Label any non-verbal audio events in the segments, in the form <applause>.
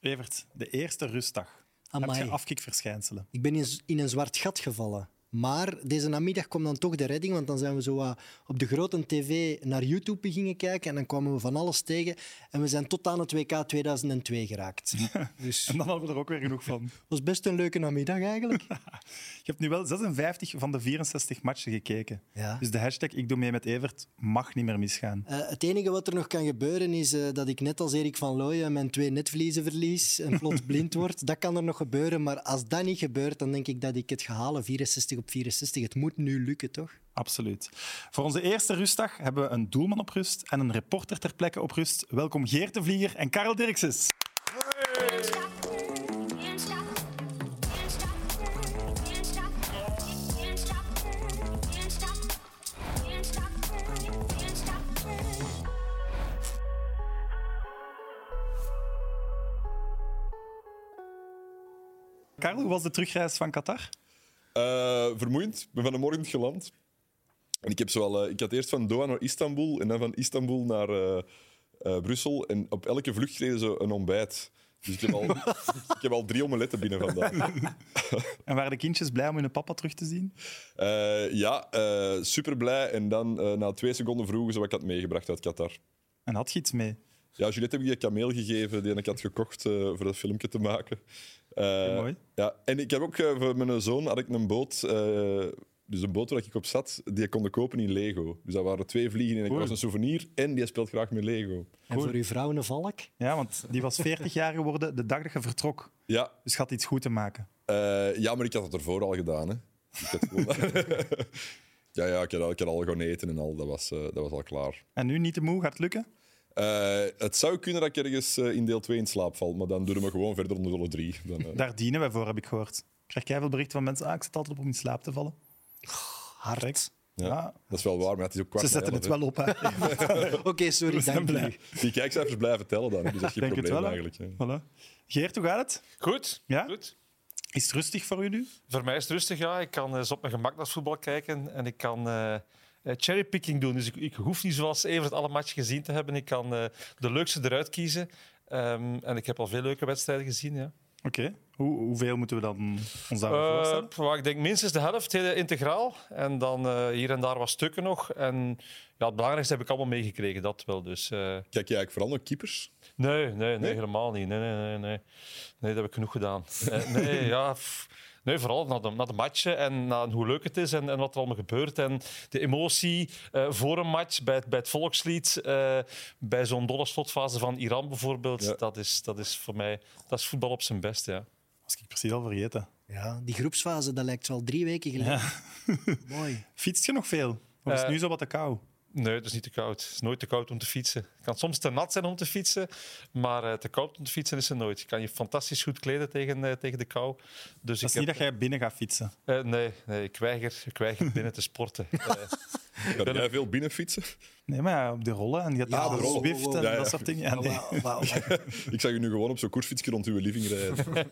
Evert, de eerste rustdag. Heb Amai. je <laughs> afkikverschijnselen? Ik ben in, z- in een zwart gat gevallen. Maar deze namiddag kwam dan toch de redding, want dan zijn we zo wat op de grote tv naar YouTube gingen kijken en dan kwamen we van alles tegen. En we zijn tot aan het WK 2002 geraakt. Dus En het dan hadden we er ook weer genoeg van. was best een leuke namiddag eigenlijk. Je hebt nu wel 56 van de 64 matchen gekeken. Ja. Dus de hashtag ik doe mee met Evert mag niet meer misgaan. Eh, het enige wat er nog kan gebeuren is eh, dat ik net als Erik van Looyen mijn twee netvliezen verlies en plots blind word. Dat kan er nog gebeuren, maar als dat niet gebeurt, dan denk ik dat ik het ga halen. 64 op 64, het moet nu lukken, toch? Absoluut. Voor onze eerste rustdag hebben we een doelman op rust en een reporter ter plekke op rust. Welkom Geert de Vlieger en Karel Dirkses. Can't stop, can't stop, can't stop, can't stop, can't stop, can't stop, can't stop, can't stop. Karel, hoe was de terugreis van Qatar? Eh, vermoeiend. Ik ben van de morgen geland. En ik, heb zowel, eh, ik had eerst van Doha naar Istanbul en dan van Istanbul naar eh, eh, Brussel. En op elke vlucht kregen ze een ontbijt. Dus ik heb al, ik heb al drie omeletten binnen vandaag. En waren de kindjes blij om hun papa terug te zien? Eh, ja, super blij. En dan eh, na twee seconden vroegen ze wat ik had meegebracht uit Qatar. En had je iets mee? Ja, Juliette heb ik die kameel gegeven die ik had gekocht eh, voor dat filmpje te maken. Eh, mooi. Ja, en ik heb ook eh, voor mijn zoon had ik een boot, eh, dus een boot waar ik op zat, die ik kon kopen in Lego. Dus dat waren twee vliegen in één. Dat Cool. was een souvenir en die speelt graag met Lego. En voor uw vrouw een valk? Ja, want die was 40 jaar geworden de dag dat je vertrok. Ja, Dus je had iets goed te maken. eh, ja maar ik had het ervoor al gedaan. Hè. Ik had gewoon... <laughs> ja, ja, ik had, al- ik had al gaan eten en al, dat was, eh, dat was al klaar. En nu niet te moe, gaat het lukken? Eh, het zou kunnen dat ik ergens eh, in deel 2 in slaap val, maar dan doen we me gewoon verder onder deel 3. Dan, eh, Daar dienen wij voor, heb ik gehoord. Ik krijg jij veel berichten van mensen, ah, ik zit altijd op om in slaap te vallen. Ah, Hard. ja. Ja. Dat is wel waar, maar het is ook kwart Ze na zetten elf, het hè. wel op, hè. <laughs> Oké, sorry, zijn dank blij. u. Die kijkcijfers blijven tellen dan. Dus dat is geen Denk het probleem wel, hè. eigenlijk. hè. Voilà. Geert, hoe gaat het? Goed, Ja? goed. Is het rustig voor u nu? Voor mij is het rustig, ja. Ik kan eh, eens op mijn gemak naar het voetbal kijken en ik kan eh, eh, cherrypicking doen. Dus ik, ik hoef niet zoals Evert alle matchen gezien te hebben. Ik kan eh, de leukste eruit kiezen. Ehm, en ik heb al veel leuke wedstrijden gezien, ja. Oké. Hoe, hoeveel moeten we dan ons daarvoor voorstellen? Eh, maar ik denk minstens de helft, heel integraal. En dan eh, hier en daar wat stukken nog. En ja, het belangrijkste heb ik allemaal meegekregen, dat wel. Dus, eh, Kijk je eigenlijk vooral naar keepers? nee, nee, nee, Nee? helemaal niet. Nee, nee, nee, nee. Nee, dat heb ik genoeg gedaan. Eh, nee, ja... pff. Nee, vooral naar de, naar de matchen en naar hoe leuk het is en, en wat er allemaal gebeurt. En de emotie eh, voor een match, bij het, bij het volkslied, eh, bij zo'n dolle slotfase van Iran bijvoorbeeld. Ja. Dat, is, dat is voor mij dat is voetbal op zijn best, ja. Was ik precies al vergeten. Ja, die groepsfase, dat lijkt wel drie weken geleden. <laughs> Mooi. Fietst je nog veel? Of is het Eh, nu zo wat te kou? Nee, het is niet te koud. Het is nooit te koud om te fietsen. Het kan soms te nat zijn om te fietsen, maar eh, te koud om te fietsen is het nooit. Je kan je fantastisch goed kleden tegen, eh, tegen de kou. Dus Het is ik niet dat jij binnen gaat fietsen. heb- eh, nee, nee, ik weiger, ik weiger binnen te sporten. <laughs> Eh, Kan jij veel binnenfietsen? Nee, maar ja, op de rollen en je gaat Ja, ah, de rollen. Zwift en Ja, ja. dat soort dingen. Ja, nee. Wa- wa- wa- Ik zag je nu gewoon op zo'n koersfietsje rond uw living rijden.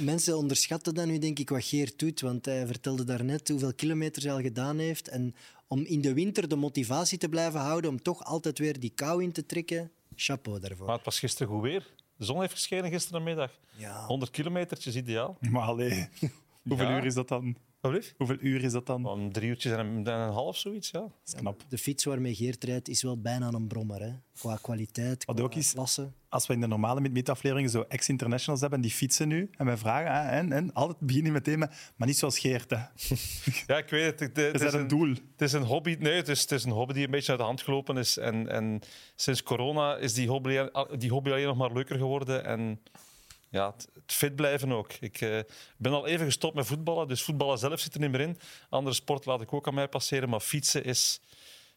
Mensen onderschatten dan nu, denk ik, wat Geert doet. Want hij vertelde daarnet hoeveel kilometers hij al gedaan heeft. En om in de winter de motivatie te blijven houden, om toch altijd weer die kou in te trekken. Chapeau daarvoor. maar het was gisteren goed weer. De zon heeft geschenen gisterenmiddag. Ja. 100 kilometertjes, ideaal. Maar <laughs> allee, hoeveel Ja. uur is dat dan? Alsjeblieft. Hoeveel uur is dat dan? Dat Om drie uurtjes en een, en een half, zoiets, ja. is knap. De fiets waarmee Geert rijdt is wel bijna een brommer. Hè? Qua kwaliteit, Wat qua ook is- klasse. Als we in de normale midmeet-afleveringen zo ex-internationals hebben en die fietsen nu en wij vragen ah, en, en altijd beginnen meteen met, maar niet zoals Geert. Hè. Ja, ik weet het. Het, het Is dat een doel? Het is een hobby. Nee, het is, het is een hobby die een beetje uit de hand gelopen is. En, en sinds corona is die hobby, die hobby alleen nog maar leuker geworden. En ja, het, het fit blijven ook. Ik eh, ben al even gestopt met voetballen, dus voetballen zelf zit er niet meer in. Andere sport laat ik ook aan mij passeren, maar fietsen is,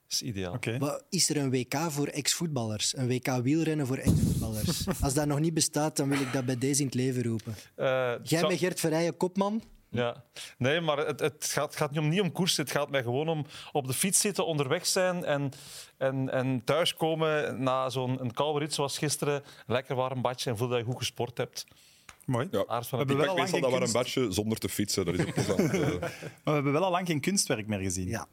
is ideaal. Oké. Wat- Is er een WK voor ex-voetballers? Een WK wielrennen voor <laughs> ex-voetballers? Als dat nog niet bestaat, dan wil ik dat bij deze in het leven roepen. Eh, Jij zou- met Gert Verrijen, kopman? Ja, nee, maar het, het gaat, gaat niet om, niet om koersen. Het gaat mij gewoon om op de fiets zitten, onderweg zijn en, en, en thuiskomen na zo'n een koude rit zoals gisteren. Lekker warm badje en voel dat je goed gesport hebt. Mooi. Ja. Aard van We het hebben Ik wel pak lang meestal geen dat maar een kunst- badje zonder te fietsen. Dat is <laughs> ook plezant. eh. Maar we hebben wel al lang geen kunstwerk meer gezien. Ja.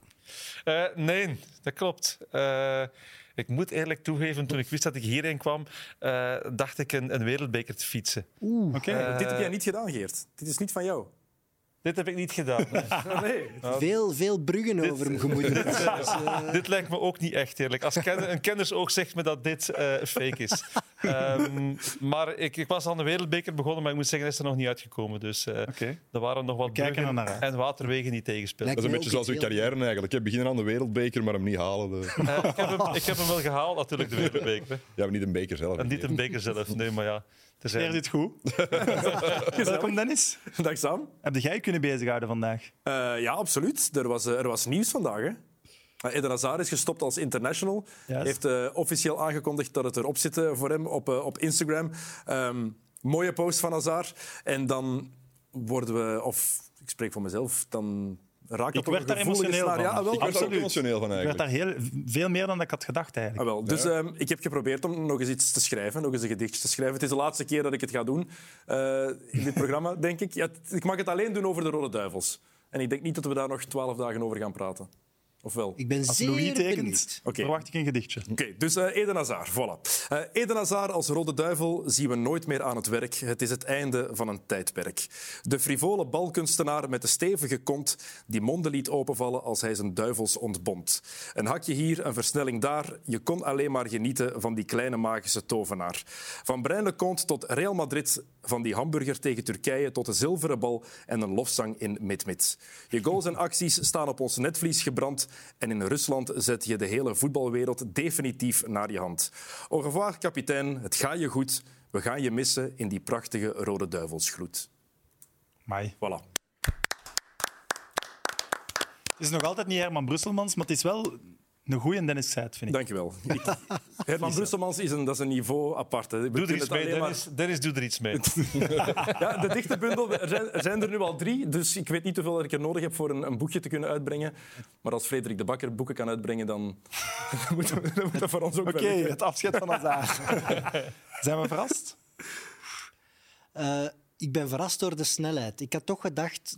Eh, nee, dat klopt. Eh, Ik moet eerlijk toegeven, toen ik wist dat ik hierheen kwam, eh, dacht ik een, een wereldbeker te fietsen. Oké. Dit heb jij niet gedaan, Geert. Dit is niet van jou. Dit heb ik niet gedaan. nee. Ah, Nee. Veel, veel bruggen over hem gemoederd. <laughs> Dus, eh, dit lijkt me ook niet echt eerlijk. Als ken, een kennersoog zegt me dat dit eh, fake is. Ehm, maar ik, ik was aan de wereldbeker begonnen, maar ik moet zeggen, dat is er nog niet uitgekomen. Dus eh, Oké. er waren nog wat kijken bruggen er naar uit. en waterwegen die tegenspeelden. Dat is een Heel beetje zoals uw veel. carrière eigenlijk. hè. Beginnen aan de wereldbeker, maar hem niet halen. eh. Ja, Eh, ik, heb hem, ik heb hem wel gehaald, natuurlijk, de wereldbeker. hè. maar niet een beker zelf. En niet een beker zelf, nee, maar ja. Het is eh, Eer eigenlijk- dit goed. Welkom, Dennis. <laughs> Dag Sam. Heb jij je kunnen bezighouden vandaag? Eh, ja, absoluut. Er was, eh, er was nieuws vandaag. Hè? Eh, Eden Hazard is gestopt als international. Juist. Heeft eh, officieel aangekondigd dat het erop zit eh, voor hem op, eh, op Instagram. Ehm, mooie post van Hazard. En dan worden we, of ik spreek voor mezelf, dan raakt Ik dat op werd een daar gevoelige emotioneel van. snaar. Ja, wel, Ik werd er ook emotioneel van Ik werd eigenlijk. daar heel, veel meer dan ik had gedacht Ah, eigenlijk. wel. Dus ehm, ik heb geprobeerd om nog eens iets te schrijven, nog eens een gedichtje te schrijven. Het is de laatste keer dat ik het ga doen eh, in dit programma, <laughs> denk ik. Ja, t- ik mag het alleen doen over de Rode Duivels. En ik denk niet dat we daar nog twaalf dagen over gaan praten. Of wel? ik ben Als zeer Louis tekent, benieuwd. Oké. verwacht ik een gedichtje. Oké, dus eh Eden Hazard, voilà. Eh Eden Hazard als rode duivel zien we nooit meer aan het werk. Het is het einde van een tijdperk. De frivole balkunstenaar met de stevige kont die monden liet openvallen als hij zijn duivels ontbond. Een hakje hier, een versnelling daar. Je kon alleen maar genieten van die kleine magische tovenaar. Van Brian Leconte tot Real Madrid, van die hamburger tegen Turkije tot de zilveren bal en een lofzang in Mid-Mid. Je goals en acties staan op ons netvlies gebrand en in Rusland zet je de hele voetbalwereld definitief naar je hand. Au revoir, kapitein. Het gaat je goed. We gaan je missen in die prachtige rode duivelsgloed. Mai. Voilà. Het is nog altijd niet Herman Brusselmans, maar het is wel een goede Dennis Seid, vind ik. Dankjewel. <laughs> Ik- Herman Brusselmans is een, dat is een niveau apart. hè. We Doe er kunnen iets het mee, alleen maar- Dennis. Dennis, doe er <laughs> iets mee. Ja, de dichte bundel, er zijn, er zijn er nu al drie, dus ik weet niet hoeveel ik er nodig heb voor een, een boekje te kunnen uitbrengen. Maar als Frederik de Bakker boeken kan uitbrengen, dan, <laughs> dan moet, dat- dan moet dat voor ons ook Oké, wel lukken. het afscheid van Hazard. Zijn we verrast? Eh, ik ben verrast door de snelheid. Ik had toch <laughs> gedacht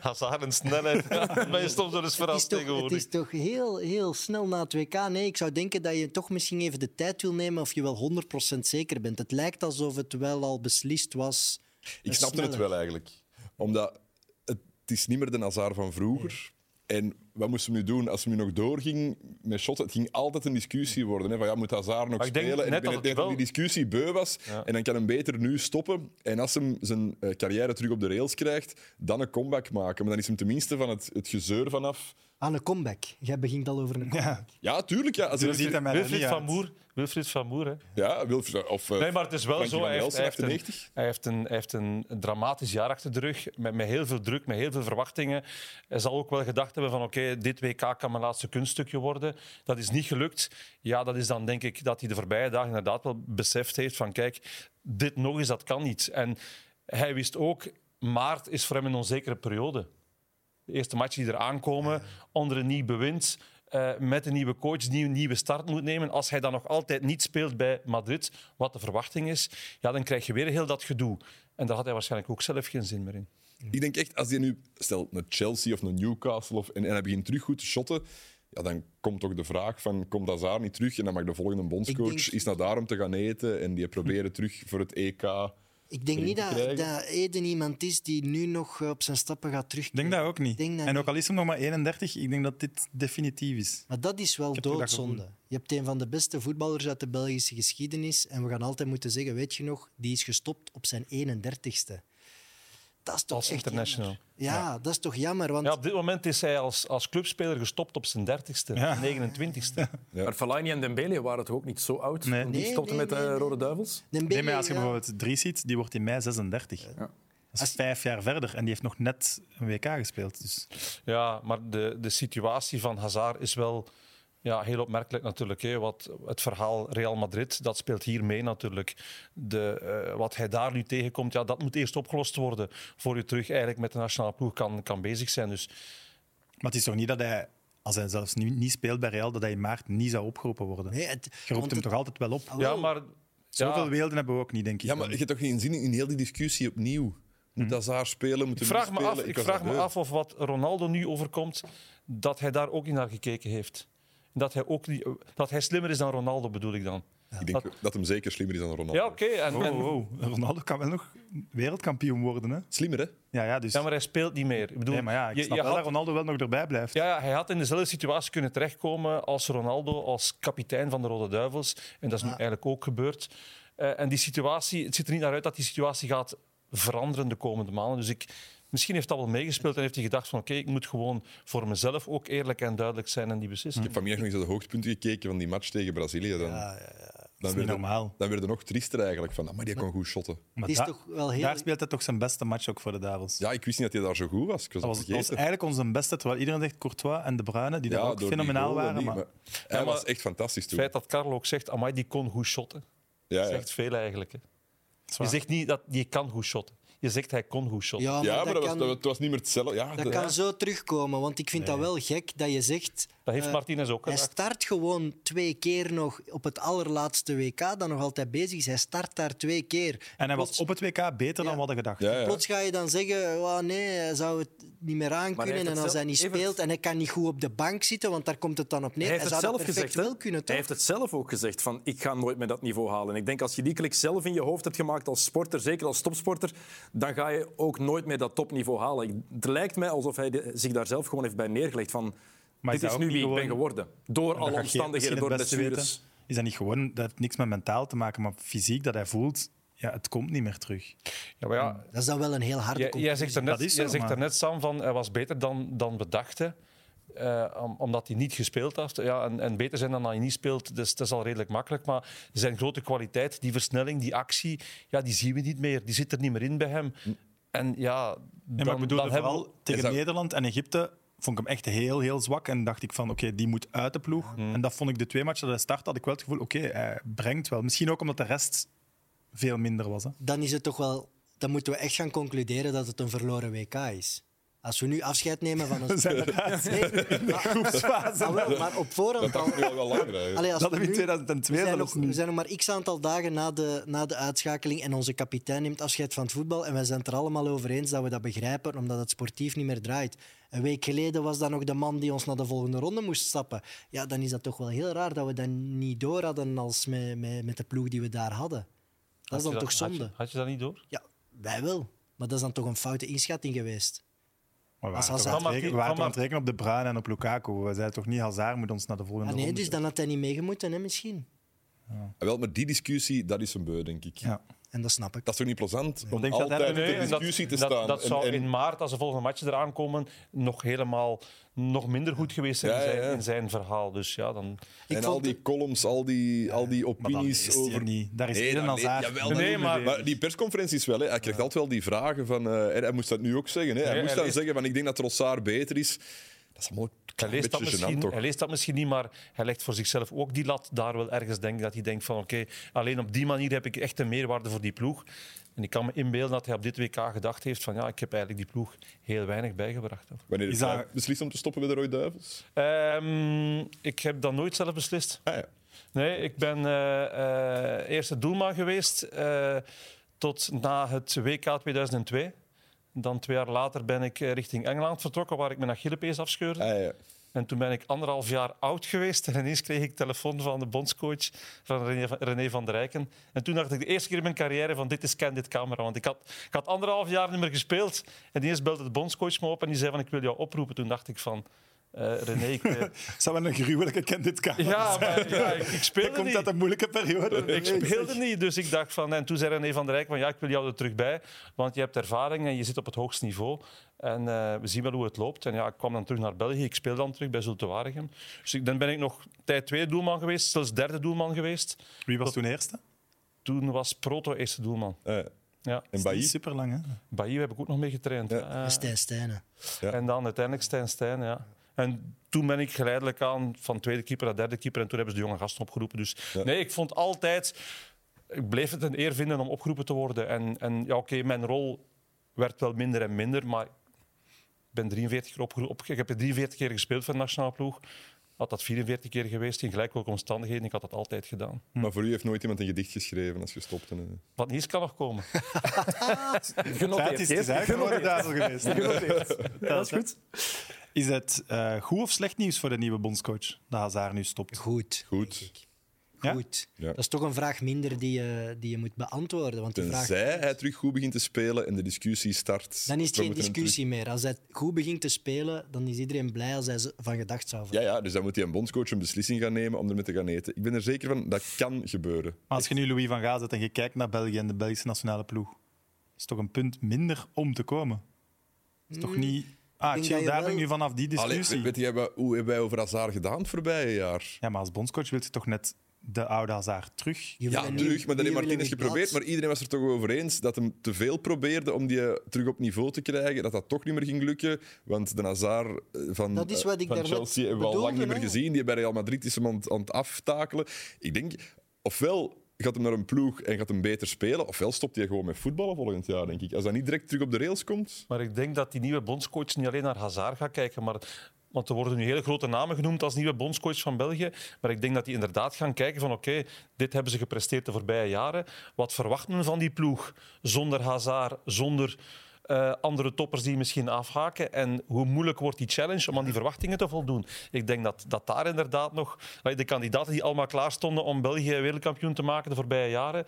Hazard en <laughs> snelheid. Ja, ben je soms wel eens Het is verrast toch, het tegenwoordig. is toch heel, heel snel na het WK. Nee, ik zou denken dat je toch misschien even de tijd wil nemen of je wel 100% zeker bent. Het lijkt alsof het wel al beslist was. Ik snapte het wel eigenlijk. Omdat het is niet meer de Nazar van vroeger. En wat moesten we nu doen? Als we nu nog doorging met shotten, het ging altijd een discussie worden. Hè? Van, ja, moet Hazard nog Maar ik denk spelen? En net ik ben- dat ik denk het dat wel- die discussie beu was. En dan kan hem beter nu stoppen. En als hem zijn eh, carrière terug op de rails krijgt, dan een comeback maken. Maar dan is hem tenminste van het, het gezeur vanaf. Aan een comeback. Jij begint al over een comeback. Ja, Ja, tuurlijk. Ja, als hij dat ziet natuurlijk- hem er niet Wilfried uit. van Moer. Wilfried van Moer, hè. ja, Wilf, of, eh, Nee, maar het is wel Frankie zo. van Hij heeft, Elsen, hij, heeft een, 98. hij, heeft een, hij heeft een dramatisch jaar achter de rug. Met, met heel veel druk, met heel veel verwachtingen. Hij zal ook wel gedacht hebben van oké, dit WK kan mijn laatste kunststukje worden. Dat is niet gelukt. Ja, dat is dan denk ik dat hij de voorbije dagen inderdaad wel beseft heeft van kijk, dit nog eens, dat kan niet. En hij wist ook, maart is voor hem een onzekere periode. De eerste matchen die eraan komen, onder een nieuw bewind, eh, met een nieuwe coach, die een nieuwe start moet nemen. Als hij dan nog altijd niet speelt bij Madrid, wat de verwachting is, ja, dan krijg je weer heel dat gedoe. En daar had hij waarschijnlijk ook zelf geen zin meer in. Ik denk echt, als hij nu, stel, naar Chelsea of naar Newcastle of, en, en hij begint terug goed te shotten, ja, dan komt toch de vraag van, komt Hazard niet terug? En dan mag de volgende bondscoach Ik denk- is naar daar om te gaan eten en die proberen terug voor het EK. Ik denk niet dat, dat Eden iemand is die nu nog eh, op zijn stappen gaat Ik denk terugkeren. dat ook niet. Denk dat en ook niet. al is hem nog maar 31, ik denk dat dit definitief is. Maar dat is wel heb toch dat doodzonde. Je hebt een van de beste voetballers uit de Belgische geschiedenis. En we gaan altijd moeten zeggen, weet je nog, die is gestopt op zijn 31ste. Dat is toch Als echt international. jammer. Ja, dat is toch jammer. Want Ja, op dit moment is hij als, als clubspeler gestopt op zijn 30ste, Ja. 29ste. Maar Fellaini en Dembele waren toch ook niet zo oud? Nee. Want Die Nee, stopten nee, met de nee, nee. rode duivels? Dembele, Nee, maar als je ja. bijvoorbeeld Dries ziet, die wordt in mei 36. Dat is Als- vijf jaar verder en die heeft nog net een WK gespeeld. Dus Ja, maar de, de situatie van Hazard is wel ja, heel opmerkelijk natuurlijk. Hè. Wat, het verhaal Real Madrid, dat speelt hier mee natuurlijk. De, eh, wat hij daar nu tegenkomt, ja, dat moet eerst opgelost worden voor je terug eigenlijk met de nationale ploeg kan, kan bezig zijn. Dus Maar het is toch niet dat hij, als hij zelfs nu niet speelt bij Real, dat hij in maart niet zou opgeroepen worden? Nee, het- Je roept want hem het- toch altijd wel op? ja, maar... Zoveel ja. weelden hebben we ook niet, denk ik. Ja, maar je hebt toch geen zin in heel die discussie opnieuw? Moet Hazard spelen? Moet Hm. Ik hij vraag, niet me af, spelen? ik was vraag dat me beu. af of wat Ronaldo nu overkomt, dat hij daar ook niet naar gekeken heeft. dat hij, ook niet, dat hij slimmer is dan Ronaldo, bedoel ik dan. Ik denk dat hem zeker slimmer is dan Ronaldo. Ja, oké. en, en- Oh, oh, Ronaldo kan wel nog wereldkampioen worden. Hè? Slimmer, hè? Ja, ja, dus... ja, maar hij speelt niet meer. Ik bedoel, nee, maar ja, ik je- snap je wel dat had- Ronaldo wel nog erbij blijft. Ja, ja, hij had in dezelfde situatie kunnen terechtkomen als Ronaldo, als kapitein van de Rode Duivels. En dat is nu eigenlijk ook gebeurd. Eh, en die situatie, het ziet er niet naar uit dat die situatie gaat veranderen de komende maanden. Dus ik, misschien heeft dat wel meegespeeld en heeft hij gedacht van oké, ik moet gewoon voor mezelf ook eerlijk en duidelijk zijn en die Ik beslissing. heb vanmiddag nog eens naar de hoogtepunten gekeken van die match tegen Brazilië. Dan, Dat dan, is niet werd het, normaal. dan werd het nog triester eigenlijk. Van, "Ah, maar die kon goed shotten. Maar Het is da- toch wel heel- Daar speelt hij toch zijn beste match ook voor de Duivels. Ja, ik wist niet dat hij daar zo goed was. Ik was Dat was, dat dat was vergeten. eigenlijk onze beste, terwijl iedereen zegt Courtois en De Bruyne, die daar Ja, ook door die fenomenaal goal en waren. die, maar... Hij Ja, maar- was echt fantastisch Het toen. feit dat Karel ook zegt, amai, die kon goed shotten. Ja, Dat ja. zegt veel eigenlijk. hè. Je waar. zegt niet dat je kan goed shotten. Je zegt hij kon goed shotten. Ja, maar, Ja, dat, maar dat was, kan, dat, was- het was niet meer hetzelfde. Ja, dat de- kan zo terugkomen. Want ik vind dat wel gek dat je zegt... Dat heeft eh, Martinez ook Hij gedaan. start gewoon twee keer nog op het allerlaatste WK, dat nog altijd bezig is. Hij start daar twee keer. En hij was Plots- op het WK beter Ja. dan we hadden gedacht. ja, ja. Plots ga je dan zeggen, "Oh, nee, hij zou het niet meer Maar hij aankunnen. heeft En het als zelf- hij niet Evert- speelt en hij kan niet goed op de bank zitten, want daar komt het dan op neer. Hij heeft het zou zelf dat perfect gezegd. hè? wel kunnen, Hij toch? heeft het zelf ook gezegd: van ik ga nooit meer dat niveau halen. Ik denk als je die klik zelf in je hoofd hebt gemaakt als sporter, zeker als topsporter, dan ga je ook nooit meer dat topniveau halen. Ik- Het lijkt mij alsof hij de- zich daar zelf gewoon heeft bij neergelegd van. Maar dit is is dat nu ook wie niet ik ben gewoon- geworden. Door Dat alle gaat Geert misschien omstandigheden, door het beste blessures. weten. Is dat niet gewoon, dat heeft niks met mentaal te maken, maar fysiek, dat hij voelt, ja, het komt niet meer terug. Ja, maar ja, Dat is dan wel een heel harde Jij, jij zegt daarnet, Dat is zo, jij zegt maar- daarnet Sam, van hij was beter dan, dan we dachten. eh, om- omdat hij niet gespeeld had. Ja, en, en beter zijn dan hij niet speelt, dus dat is al redelijk makkelijk. Maar zijn grote kwaliteit, die versnelling, die actie, ja, die zien we niet meer. Die zit er niet meer in bij hem. En ja, En dan, Hm. maar ik bedoel, dan hebben vooral we... tegen Is dat- Nederland en Egypte vond ik hem echt heel, heel zwak. En dacht ik van, oké, die moet uit de ploeg. En dat vond ik de twee matchen dat hij start, had ik wel het gevoel, oké, hij brengt wel. Misschien ook omdat de rest veel minder was. Hè. dan is het toch wel... Dan moeten we echt gaan concluderen dat het een verloren WK is. Als we nu afscheid nemen <laughs> van ons... zijn Nee, groepsfase. ah, wel, maar op voorhand <laughs> Dat al... is nu al wel langer. hè. Allee, als Dat we hebben we in nu- 2002 We zijn, nog, zelfs we niet. zijn nog maar x aantal dagen na de, na de uitschakeling en onze kapitein neemt afscheid van het voetbal. En wij zijn het er allemaal over eens dat we dat begrijpen, omdat het sportief niet meer draait. Een week geleden was dat nog de man die ons naar de volgende ronde moest stappen. Ja, dan is dat toch wel heel raar dat we dat niet door hadden als met, met, met de ploeg die we daar hadden. Dat is dan Had je toch had je- zonde? Had je, dat niet door? Ja, wij wel. Maar dat is dan toch een foute inschatting geweest. Maar we Als waren, toch Hazard- aan het rekenen- we waren toch Van aan het rekenen op De Bruyne en op Lukaku. We zeiden toch niet, Hazard moet ons naar de volgende Ah, nee, ronde. dus dan had hij niet meegemoeten, hè, misschien. Wel, maar die discussie, dat is een beu, denk ik. Ja. En dat snap ik. Dat is toch niet plezant om denk dat hij- altijd in Nee, de en dat, discussie te dat- staan. dat en- zou en- in maart, als de volgende matchen eraan komen, nog helemaal nog minder goed geweest zijn, Ja, in, zijn ja, ja. in zijn verhaal. Dus ja, dan... Ik en vond al die columns, al die, al die Maar dat opinies is hij over... niet. Daar is Nee, Eden dat- nee, Hazard. jawel, Dat nee, doen we maar- weer. Maar die persconferenties wel, hè. hij krijgt altijd wel die vragen van... eh, en hij moest dat nu ook zeggen. Hè. Hij Nee, moest hij dan leest- zeggen van ik denk dat Rossard beter is. Dat is allemaal een Hij klein leest, dat beetje gênant, misschien, toch? hij leest dat misschien niet, maar hij legt voor zichzelf ook die lat daar wel ergens denk ik, dat hij denkt van oké, alleen op die manier heb ik echt een meerwaarde voor die ploeg. En ik kan me inbeelden dat hij op dit WK gedacht heeft van ja, ik heb eigenlijk die ploeg heel weinig bijgebracht. hoor. Wanneer Is is dat- hij beslist om te stoppen bij de Rode Duivels? Ehm, ik heb dat nooit zelf beslist. Ah, ja. Nee, ik ben eh, eh, eerste doelman geweest eh, tot na het WK 2002. Dan twee jaar later ben ik eh, richting Engeland vertrokken, waar ik mijn Achillepees afscheurde. Ah, ja. En toen ben ik anderhalf jaar oud geweest en ineens kreeg ik telefoon van de bondscoach, van René, van- René van der Rijken. En toen dacht ik de eerste keer in mijn carrière van dit is Ken, dit camera. Want ik had, ik had anderhalf jaar niet meer gespeeld en ineens belde de bondscoach me op en die zei van ik wil jou oproepen. Toen dacht ik van eh, René, ik, eh, zou wel een gruwelijke kandidkamer <laughs> ja, zijn. maar, ja, ik, ik Dat speelde komt niet. uit een moeilijke periode. <laughs> Ik speelde niet, dus ik dacht van... En toen zei René van der Rijk van ja, ik wil jou er terug bij, want je hebt ervaring en je zit op het hoogste niveau. En eh, we zien wel hoe het loopt. En ja, ik kwam dan terug naar België, ik speelde dan terug bij Zulte Waregem. Dus ik, dan ben ik nog tijd twee doelman geweest, zelfs derde doelman geweest. Wie was toen eerste? Toen was Proto eerste doelman. Ah, ja. Ja. En Niet Bailly? Super lang, hè? Bailly heb ik ook nog mee getraind. Ja. Eh, Dat is Stijn Stijnen. Ja. En dan uiteindelijk Stijn Stijn, ja. En toen ben ik geleidelijk aan van tweede keeper naar derde keeper. En toen hebben ze de jonge gasten opgeroepen. Dus Ja. nee, ik vond altijd... Ik bleef het een eer vinden om opgeroepen te worden. En, en ja, oké, mijn rol werd wel minder en minder. Maar ik ben 43 keer opgeroepen. Ik heb er 43 keer gespeeld voor de nationale ploeg. Had dat 44 keer geweest in gelijk welke omstandigheden. Ik had dat altijd gedaan. Maar voor u heeft nooit iemand een gedicht geschreven als je stopte. hè. Wat niet is, kan nog komen. Ja, het <laughs> Genoteerd. is, het is Geert. eigenlijk een rode duivel geweest. Genoteerd. Ja, dat is goed. Is het eh, goed of slecht nieuws voor de nieuwe bondscoach dat Hazard nu stopt? Goed. Goed. Ja? Goed. Ja. Dat is toch een vraag minder die je, die je moet beantwoorden. Want de vraag, Tenzij hij terug goed begint te spelen en de discussie start. dan is het We geen moeten hem terug- discussie meer. Als hij goed begint te spelen, dan is iedereen blij als hij ze- van gedacht zou veranderen. Ja, ja, dus dan moet hij een bondscoach een beslissing gaan nemen om ermee te gaan eten. Ik ben er zeker van, dat kan gebeuren. Maar als je nu Louis van Gaal zet en je kijkt naar België en de Belgische nationale ploeg, is toch een punt minder om te komen? Is toch niet... Ah, Hmm. denk chill, dat je daar wel- ben ik nu vanaf die Allee, discussie. weet jij wat- hoe hebben wij over Hazard gedaan het voorbije jaar? Ja, maar als bondscoach wil je toch net de oude Hazard terug? Je wil Ja, een terug, nieuw- maar dat je heeft wil een Martinez nieuw geprobeerd. blad. Maar iedereen was er toch over eens dat hem te veel probeerde om die eh, terug op niveau te krijgen. Dat dat toch niet meer ging lukken. Want de Hazard eh, van, Dat is wat ik eh, van daarnet Chelsea hebben we al lang bedoelde, niet meer hè. gezien. Die bij Real Madrid is hem aan, het- aan het aftakelen. Ik denk, ofwel gaat hem naar een ploeg en gaat hem beter spelen, ofwel stopt hij gewoon met voetballen volgend jaar, denk ik. Als dat niet direct terug op de rails komt... Maar ik denk dat die nieuwe bondscoach niet alleen naar Hazard gaat kijken, maar, want er worden nu hele grote namen genoemd als nieuwe bondscoach van België. Maar ik denk dat die inderdaad gaan kijken van oké, dit hebben ze gepresteerd de voorbije jaren. Wat verwacht men van die ploeg zonder Hazard, zonder eh, andere toppers die misschien afhaken? En hoe moeilijk wordt die challenge om aan die verwachtingen te voldoen? Ik denk dat, dat daar inderdaad nog... allee, De kandidaten die allemaal klaar stonden om België wereldkampioen te maken de voorbije jaren...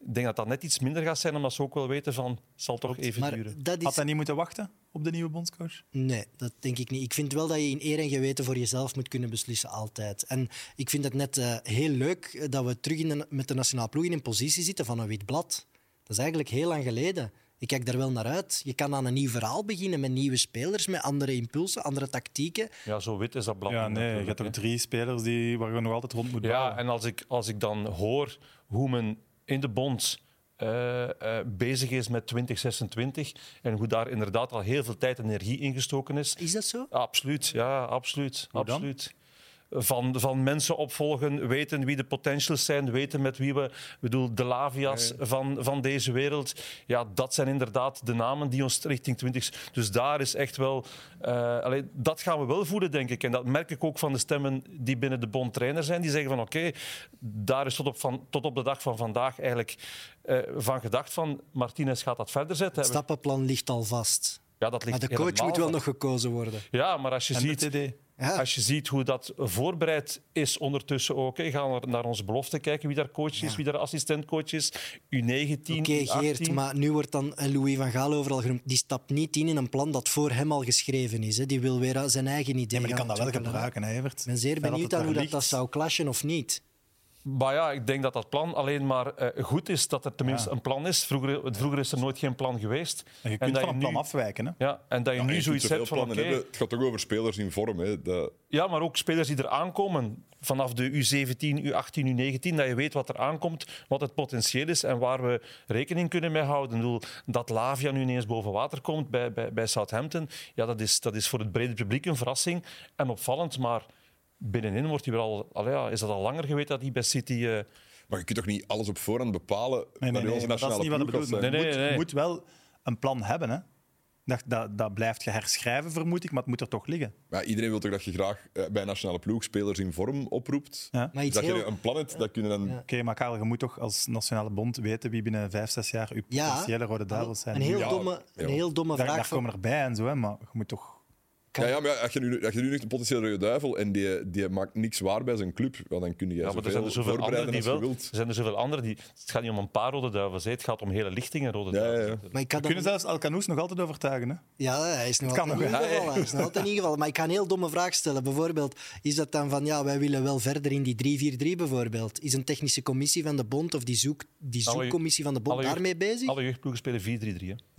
Ik denk dat dat net iets minder gaat zijn, omdat ze ook wel weten van... Het zal toch even duren. Maar dat Had is... hij niet moeten wachten op de nieuwe bondscoach? Nee, dat denk ik niet. Ik vind wel dat je in eer en geweten voor jezelf moet kunnen beslissen, altijd. En ik vind het net eh, heel leuk eh, dat we terug in de- met de nationale ploeg in een positie zitten van een wit blad. Dat is eigenlijk heel lang geleden. Ik kijk daar wel naar uit. Je kan aan een nieuw verhaal beginnen met nieuwe spelers, met andere impulsen, andere tactieken. Ja, zo wit is dat blad. Ja, niet nee. Je natuurlijk, hebt toch hè. drie spelers die, waar je nog altijd rond moet bouwen. Ja, en als ik, als ik dan hoor hoe men in de bond eh, eh, bezig is met 2026 en hoe daar inderdaad al heel veel tijd en energie in gestoken is. Is dat zo? Absoluut, ja, absoluut. Hoe dan? absoluut. Van, van mensen opvolgen, weten wie de potentials zijn, weten met wie we, ik bedoel, de lavia's van, van deze wereld. Ja, dat zijn inderdaad de namen die ons richting 20. Dus daar is echt wel. eh, allee, dat gaan we wel voelen, denk ik. En dat merk ik ook van de stemmen die binnen de Bond trainer zijn. Die zeggen van oké, daar is tot op, van, tot op de dag van vandaag eigenlijk eh, van gedacht van Martinez gaat dat verder zetten. Het stappenplan ligt al vast. Ja, dat ligt Maar de coach helemaal moet wel vast. nog gekozen worden. Ja, maar als je En ziet. de TD. Ja. Als je ziet hoe dat voorbereid is ondertussen ook. hè, Gaan we naar onze belofte kijken wie daar coach is, wie daar assistentcoach is. U19, Oké, U18. Geert, maar nu wordt dan eh, Louis van Gaal overal genoemd. Die stapt niet in in een plan dat voor hem al geschreven is. Hè. Die wil weer aan zijn eigen idee. Ja, maar die kan dat wel ontwikkelen, hè. gebruiken, hè, Evert. Ik ben zeer Fijn dat benieuwd het aan daar hoe dat, ligt. dat zou clashen of niet. Maar ja, ik denk dat dat plan alleen maar eh, goed is. Dat er tenminste Ja. een plan is. Vroeger, vroeger is er nooit geen plan geweest. En je kunt dat van een nu- plan afwijken, hè? Ja, en dat je Ja, nu je kunt zoiets zoveel hebt van... plannen oké, hebben. Het gaat toch over spelers in vorm. Hè. Dat, Ja, maar ook spelers die er aankomen. Vanaf de U17, U18, U19. Dat je weet wat er aankomt, wat het potentieel is en waar we rekening kunnen mee houden. Ik bedoel, dat Lavia nu ineens boven water komt bij, bij, bij Southampton. Ja, dat is, dat is voor het brede publiek een verrassing en opvallend. Maar binnenin wordt hij wel al, al ja, is dat al langer geweten dat hij bij City... eh, Maar je kunt toch niet alles op voorhand bepalen Nee, nee, wanneer nee, onze maar dat is nationale niet wat ik ploeg gaat bedoel. Je zijn? Nee, nee, moet, nee. moet wel een plan hebben, hè. Dat, dat, dat blijft je herschrijven, vermoed ik, maar het moet er toch liggen. Maar iedereen wil toch dat je graag eh, bij een nationale ploeg spelers in vorm oproept? Ja. Maar Dus iets dat je heel... een plan hebt, dat kunnen dan... Ja. Oké, maar Karel, je moet toch als nationale bond weten wie binnen vijf, zes jaar uw Ja. potentiële rode duivels zijn. Een heel Ja, domme, een ja. heel domme daar, vraag. daar van- komen erbij en zo, hè, maar je moet toch... Ja, ja, maar ja, als je nu, als je nu echt een potentiële rode duivel en die, die maakt niks waar bij zijn club, wel, dan kun je Ja, maar er zijn er zoveel anderen voorbereiden die als je wel... Er wilt. zijn er zoveel anderen die... Het gaat niet om een paar rode duivels, hè. het gaat om hele lichtingen rode Ja, ja, duivels. ja. Maar ik kan We kunnen zelfs Alcanoes nog altijd overtuigen, hè. Ja, hij is nog kan altijd nog, hè? ingevallen. Hij is nog altijd ingevallen. Maar ik ga een heel domme vraag stellen. Bijvoorbeeld, is dat dan van, ja, wij willen wel verder in die 3-4-3 bijvoorbeeld. Is een technische commissie van de bond of die, zoek, die Alle- zoekcommissie van de bond alle jeugd- daarmee bezig? 4-3-3. Alle jeugdploegen spelen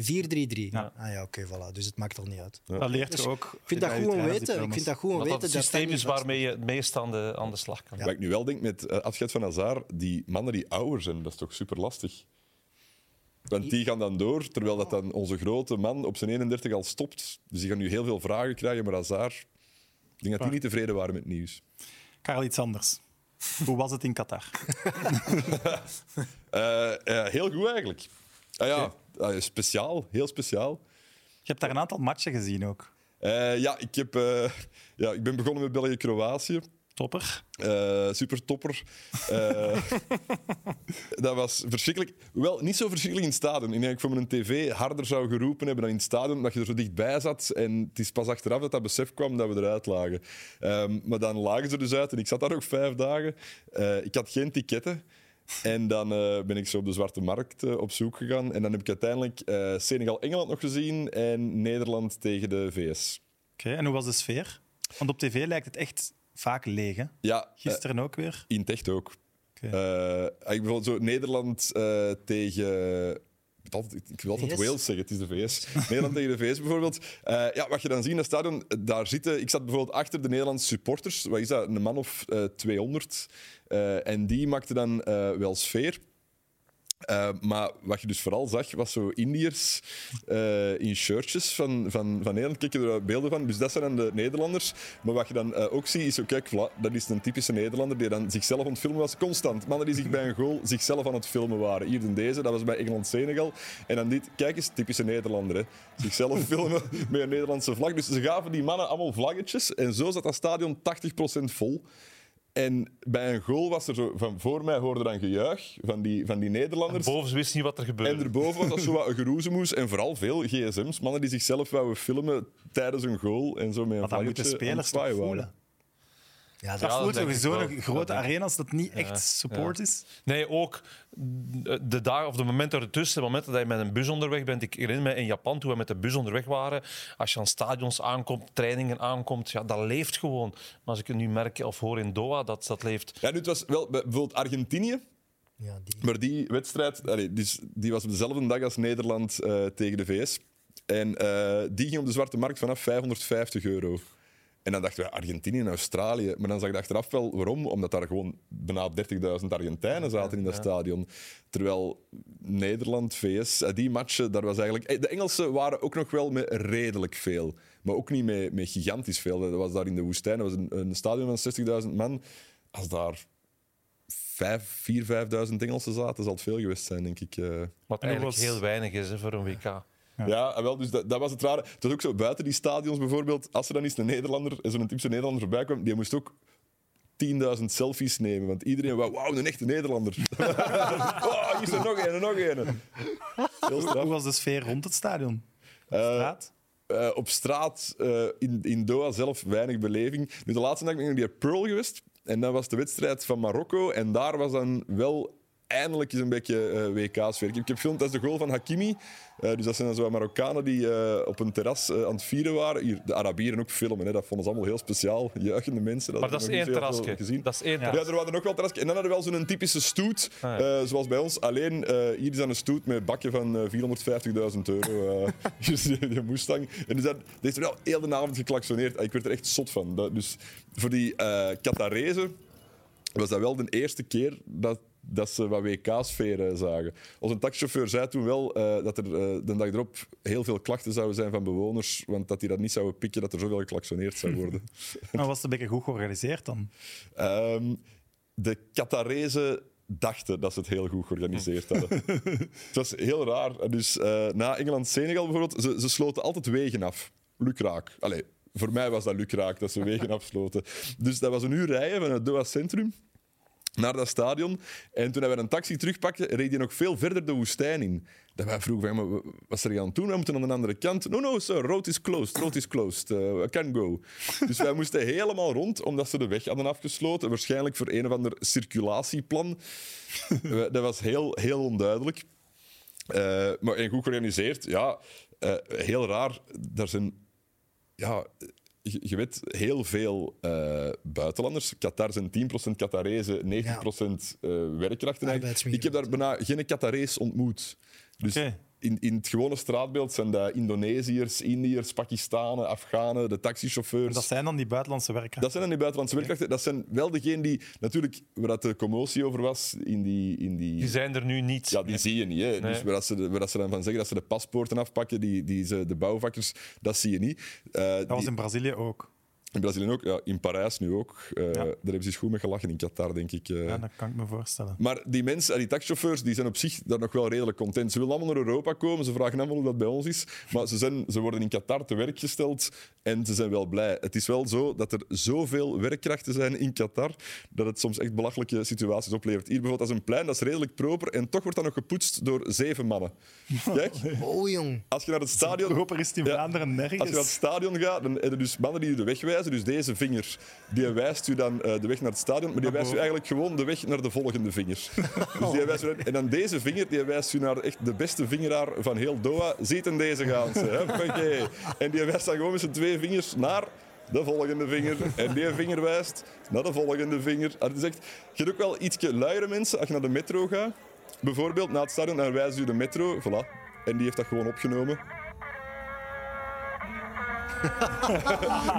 4-3-3. hè. Ja. Ah ja, oké, voilà. Dus het maakt al niet uit. Dat leert Dus je ook. Ik vind dat bij goed om je weten. Ik trainersdiploma's. vind dat goed om Dat weten. dat het systeem niet is vast- waarmee je het meest aan de, aan de slag kan. Wat ik nu wel denk met eh, afscheid van Hazard, die mannen die ouder zijn, dat is toch super lastig. Want die gaan dan door, terwijl dat dan onze grote man op zijn 31 al stopt. Dus die gaan nu heel veel vragen krijgen, maar Hazard... Ik denk dat die niet tevreden waren met het nieuws. Karel, iets <laughs> anders. Hoe was het in Qatar? Eh, eh, heel goed eigenlijk. Ah, ja, eh, speciaal, heel speciaal. Je hebt daar een aantal matchen gezien ook. Eh, ja, ik heb, eh, ja, ik ben begonnen met België-Kroatië. Topper. Eh, super topper. Eh, <laughs> dat was verschrikkelijk. Wel, niet zo verschrikkelijk in het stadion. Ik denk dat ik voor mijn tv harder zou geroepen hebben dan in het stadion, omdat je er zo dichtbij zat. En het is pas achteraf dat dat besef kwam dat we eruit lagen. Ehm, maar dan lagen ze er dus uit en ik zat daar ook vijf dagen. Eh, ik had geen ticketten. En dan eh, ben ik zo op de Zwarte Markt eh, op zoek gegaan. En dan heb ik uiteindelijk eh, Senegal-Engeland nog gezien en Nederland tegen de VS. Oké, en hoe was de sfeer? Want op tv lijkt het echt vaak leeg. Hè? Ja, eh, Gisteren ook weer. In het echt ook. Oké. Eh, ik bijvoorbeeld zo Nederland eh, tegen. ik wil altijd- Ik wil altijd VS? Wales zeggen, het is de VS. Nederland tegen de VS bijvoorbeeld. Eh, ja, wat je dan ziet in het stadion, eh, daar zitten... Ik zat bijvoorbeeld achter de Nederlandse supporters. Wat is dat? Een man of eh, 200. Eh, en die maakte dan eh, wel sfeer. Eh, maar wat je dus vooral zag, was zo Indiërs eh, in shirtjes van, van, van Nederland. Kijk, je er beelden van. Dus dat zijn dan de Nederlanders. Maar wat je dan eh, ook ziet, is zo, kijk, voilà, dat is een typische Nederlander die dan zichzelf aan het filmen was. Constant. Mannen die zich bij een goal zichzelf aan het filmen waren. Hier en deze, dat was bij Engeland-Senegal. En dan dit, kijk eens, typische Nederlander. Hè. Zichzelf <laughs> filmen met een Nederlandse vlag. Dus ze gaven die mannen allemaal vlaggetjes. En zo zat dat stadion 80% vol. En bij een goal was er zo, van voor mij hoorde dan gejuich van die, van die Nederlanders. Boven, ze wisten niet wat er En gebeurde. erboven was dat zo wat een geroezemoes en vooral veel gsm's. Mannen die zichzelf wouden filmen tijdens een goal en zo met een Maar dat vlaggetje moeten aan het spelers toch zwaaien waren. voelen. Ja, Dat Ja, voelt dat toch denk ik wel. zo'n Dat grote denk ik. arena als dat niet echt support is. Nee, ook de dagen of de momenten ertussen, de momenten dat je met een bus onderweg bent. Ik herinner me in Japan toen we met de bus onderweg waren. Als je aan stadions aankomt, trainingen aankomt, ja, dat leeft gewoon. Maar als ik het nu merk of hoor in Doha, dat, dat leeft. Ja, nu, het was wel bij- bijvoorbeeld Argentinië. Ja, die... Maar die wedstrijd allee, die, is- die was op dezelfde dag als Nederland eh, tegen de VS. En eh, die ging op de zwarte markt vanaf 550 euro. En dan dachten we Argentinië en Australië. Maar dan zag ik achteraf wel waarom. Omdat daar gewoon bijna 30.000 Argentijnen zaten in dat stadion. Terwijl Nederland, VS, eh, die matchen, daar was eigenlijk... eh, De Engelsen waren ook nog wel met redelijk veel. Maar ook niet met, met gigantisch veel. Dat was daar in de woestijn. Dat was een, een stadion van 60.000 man. Als daar vijf, vier, vijfduizend Engelsen zaten, zal het veel geweest zijn, denk ik. eh. Wat En hoe eigenlijk was- heel weinig is hè, voor een WK. Ja, ah, wel, dus dat, dat was het rare. Het was ook zo, buiten die stadions bijvoorbeeld, als er dan eens een Nederlander, zo'n typische Nederlander voorbij kwam, die moest ook 10.000 selfies nemen, want iedereen wou, wauw, een echte Nederlander. <laughs> oh, hier is er nog een, en nog een. Heel straf. Hoe was de sfeer rond het stadion? Eh, <laughs> Straat? eh, op straat eh, in, in Doha zelf weinig beleving. Nu, de laatste dag ben ik naar die Pearl geweest. En dat was de wedstrijd van Marokko. En daar was dan wel eindelijk eens een beetje WK-sfeer. Ik heb gefilmd, dat is de goal van Hakimi. Eh, dus dat zijn dan zo wat Marokkanen die eh, op een terras eh, aan het vieren waren. Hier, de Arabieren ook filmen, hè. dat vonden ze allemaal heel speciaal. Juichende mensen. Maar dat is heb ik één nog niet zo heel veel terrasje. Gezien. Dat is één Ja, terras. er waren er ook wel terrasjes. En dan hadden we wel zo'n typische stoet, Ah, eh, zoals bij ons. Alleen eh, hier is dan een stoet met bakken van eh, 450.000 euro. eh <laughs> hier is die, die Mustang. En dus dat, die is er wel heel de avond geklaksoneerd. Ah, Ik werd er echt zot van. Dat, dus voor die eh Qatarezen was dat wel de eerste keer dat, dat ze wat WK-sfeer eh, zagen. Onze taxichauffeur zei toen wel eh, dat er eh, de dag erop heel veel klachten zouden zijn van bewoners, want dat die dat niet zouden pikken, dat er zoveel geklaksoneerd zou worden. Maar was het een beetje goed georganiseerd dan? Ehm, de Qatarezen dachten dat ze het heel goed georganiseerd hadden. het was heel raar. Dus eh, na Engeland-Senegal bijvoorbeeld, ze, ze sloten altijd wegen af. Lukraak. Allee, voor mij was dat lukraak dat ze wegen afsloten. Dus dat was een uur rijden van het Doha Centrum naar dat stadion. En toen we een taxi terugpakten, reed hij nog veel verder de woestijn in. Dat wij vroegen, van, maar wat zijn we aan het doen? We moeten aan de andere kant. No, no, sir, road is closed, road is closed. Eh, I can go. Dus wij moesten helemaal rond, omdat ze de weg hadden afgesloten. Waarschijnlijk voor een of ander circulatieplan. We- Eh, Dat was heel, heel onduidelijk. Eh, maar en goed georganiseerd, ja. eh, heel raar, daar zijn... Ja, je, je weet, heel veel eh, buitenlanders. Qatar zijn 10% Qatarezen, 90% eh, werkkrachten. eigenlijk. Arbeidsmigranten. Ik heb daar bijna geen Qatarees ontmoet. Dus Oké. in, in het gewone straatbeeld zijn dat Indonesiërs, Indiërs, Pakistanen, Afghanen, de taxichauffeurs. Dat zijn dan die buitenlandse werken. Dat zijn dan die buitenlandse werkkrachten. Dat zijn wel degenen die, natuurlijk, waar dat de commotie over was, in die... In die, Die zijn er nu niet. ja, die zie je niet. Hè. Dus Nee. waar, dat ze, de- waar dat ze dan van zeggen dat ze de paspoorten afpakken, die, die ze, de bouwvakkers, dat zie je niet. Eh, Dat was die- in Brazilië ook. In Brazilië ook, ja, in Parijs nu ook. Eh, Daar hebben ze eens goed mee gelachen in Qatar, denk ik. eh. Ja, dat kan ik me voorstellen. Maar die mensen, eh, die taxichauffeurs, die zijn op zich daar nog wel redelijk content. Ze willen allemaal naar Europa komen, ze vragen allemaal hoe dat bij ons is. Maar ze, zijn, ze worden in Qatar te werk gesteld en ze zijn wel blij. Het is wel zo dat er zoveel werkkrachten zijn in Qatar dat het soms echt belachelijke situaties oplevert. Hier bijvoorbeeld, dat is een plein, dat is redelijk proper en toch wordt dat nog gepoetst door zeven <laughs> mannen. Kijk, Oh, jong. als je naar het stadion... Europa is het in Ja. Vlaanderen Als je naar het nergens. stadion gaat, dan heb je dus mannen die je de weg wijzen. Dus deze vinger, die wijst u dan eh, de weg naar het stadion, maar die wijst u eigenlijk gewoon de weg naar de volgende <laughs> vinger. Dus die wijst u dan- en dan deze vinger, die wijst u naar echt de beste vingeraar van heel Doha. Ziet in deze gaan ze. <laughs> Hoppakee. En die wijst dan gewoon met zijn twee vingers naar de volgende vinger. En die vinger wijst naar de volgende vinger. Ah, het is echt, je hebt ook wel ietsje luiere mensen als je naar de metro gaat. Bijvoorbeeld na het stadion, dan wijst u de metro. Voilà. En die heeft dat gewoon opgenomen.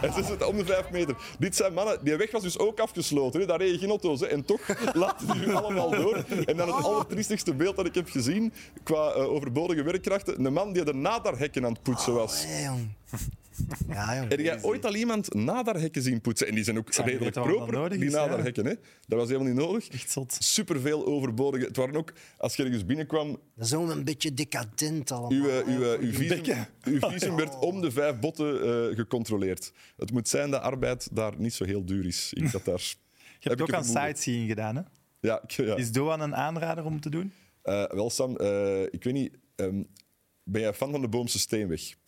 Het is het om de vijf meter. Dit zijn mannen, die weg was dus ook afgesloten. Hè? Daar reden geen auto's. Hè? En toch <laughs> laten die nu allemaal door. En dan het allertriestigste beeld dat ik heb gezien qua eh, overbodige werkkrachten. Een man die de nadarhekken aan het poetsen Ah, was. Hey, jong. Ja, jong. Heb jij ooit al iemand nadarhekken zien poetsen? En die zijn ook Zijn die redelijk dat wel proper, nodig die is, ja. nadarhekken. Hè? Dat was helemaal niet nodig. Echt zot. Superveel overbodige. Het waren ook, als je ergens binnenkwam, Dat is wel een beetje decadent allemaal. uw, eh, uw, eh, uw, visum, Dikke. uw visum werd om de vijf botten eh, gecontroleerd. Het moet zijn dat arbeid daar niet zo heel duur is in Qatar. Je hebt ik ook aan een vermoeden. sightseeing gedaan, hè? Ja, ik- ja. Is Doan een aanrader om te doen? Eh, wel, Sam, eh, ik weet niet. ehm, ben jij fan van de Boomse Steenweg? Ik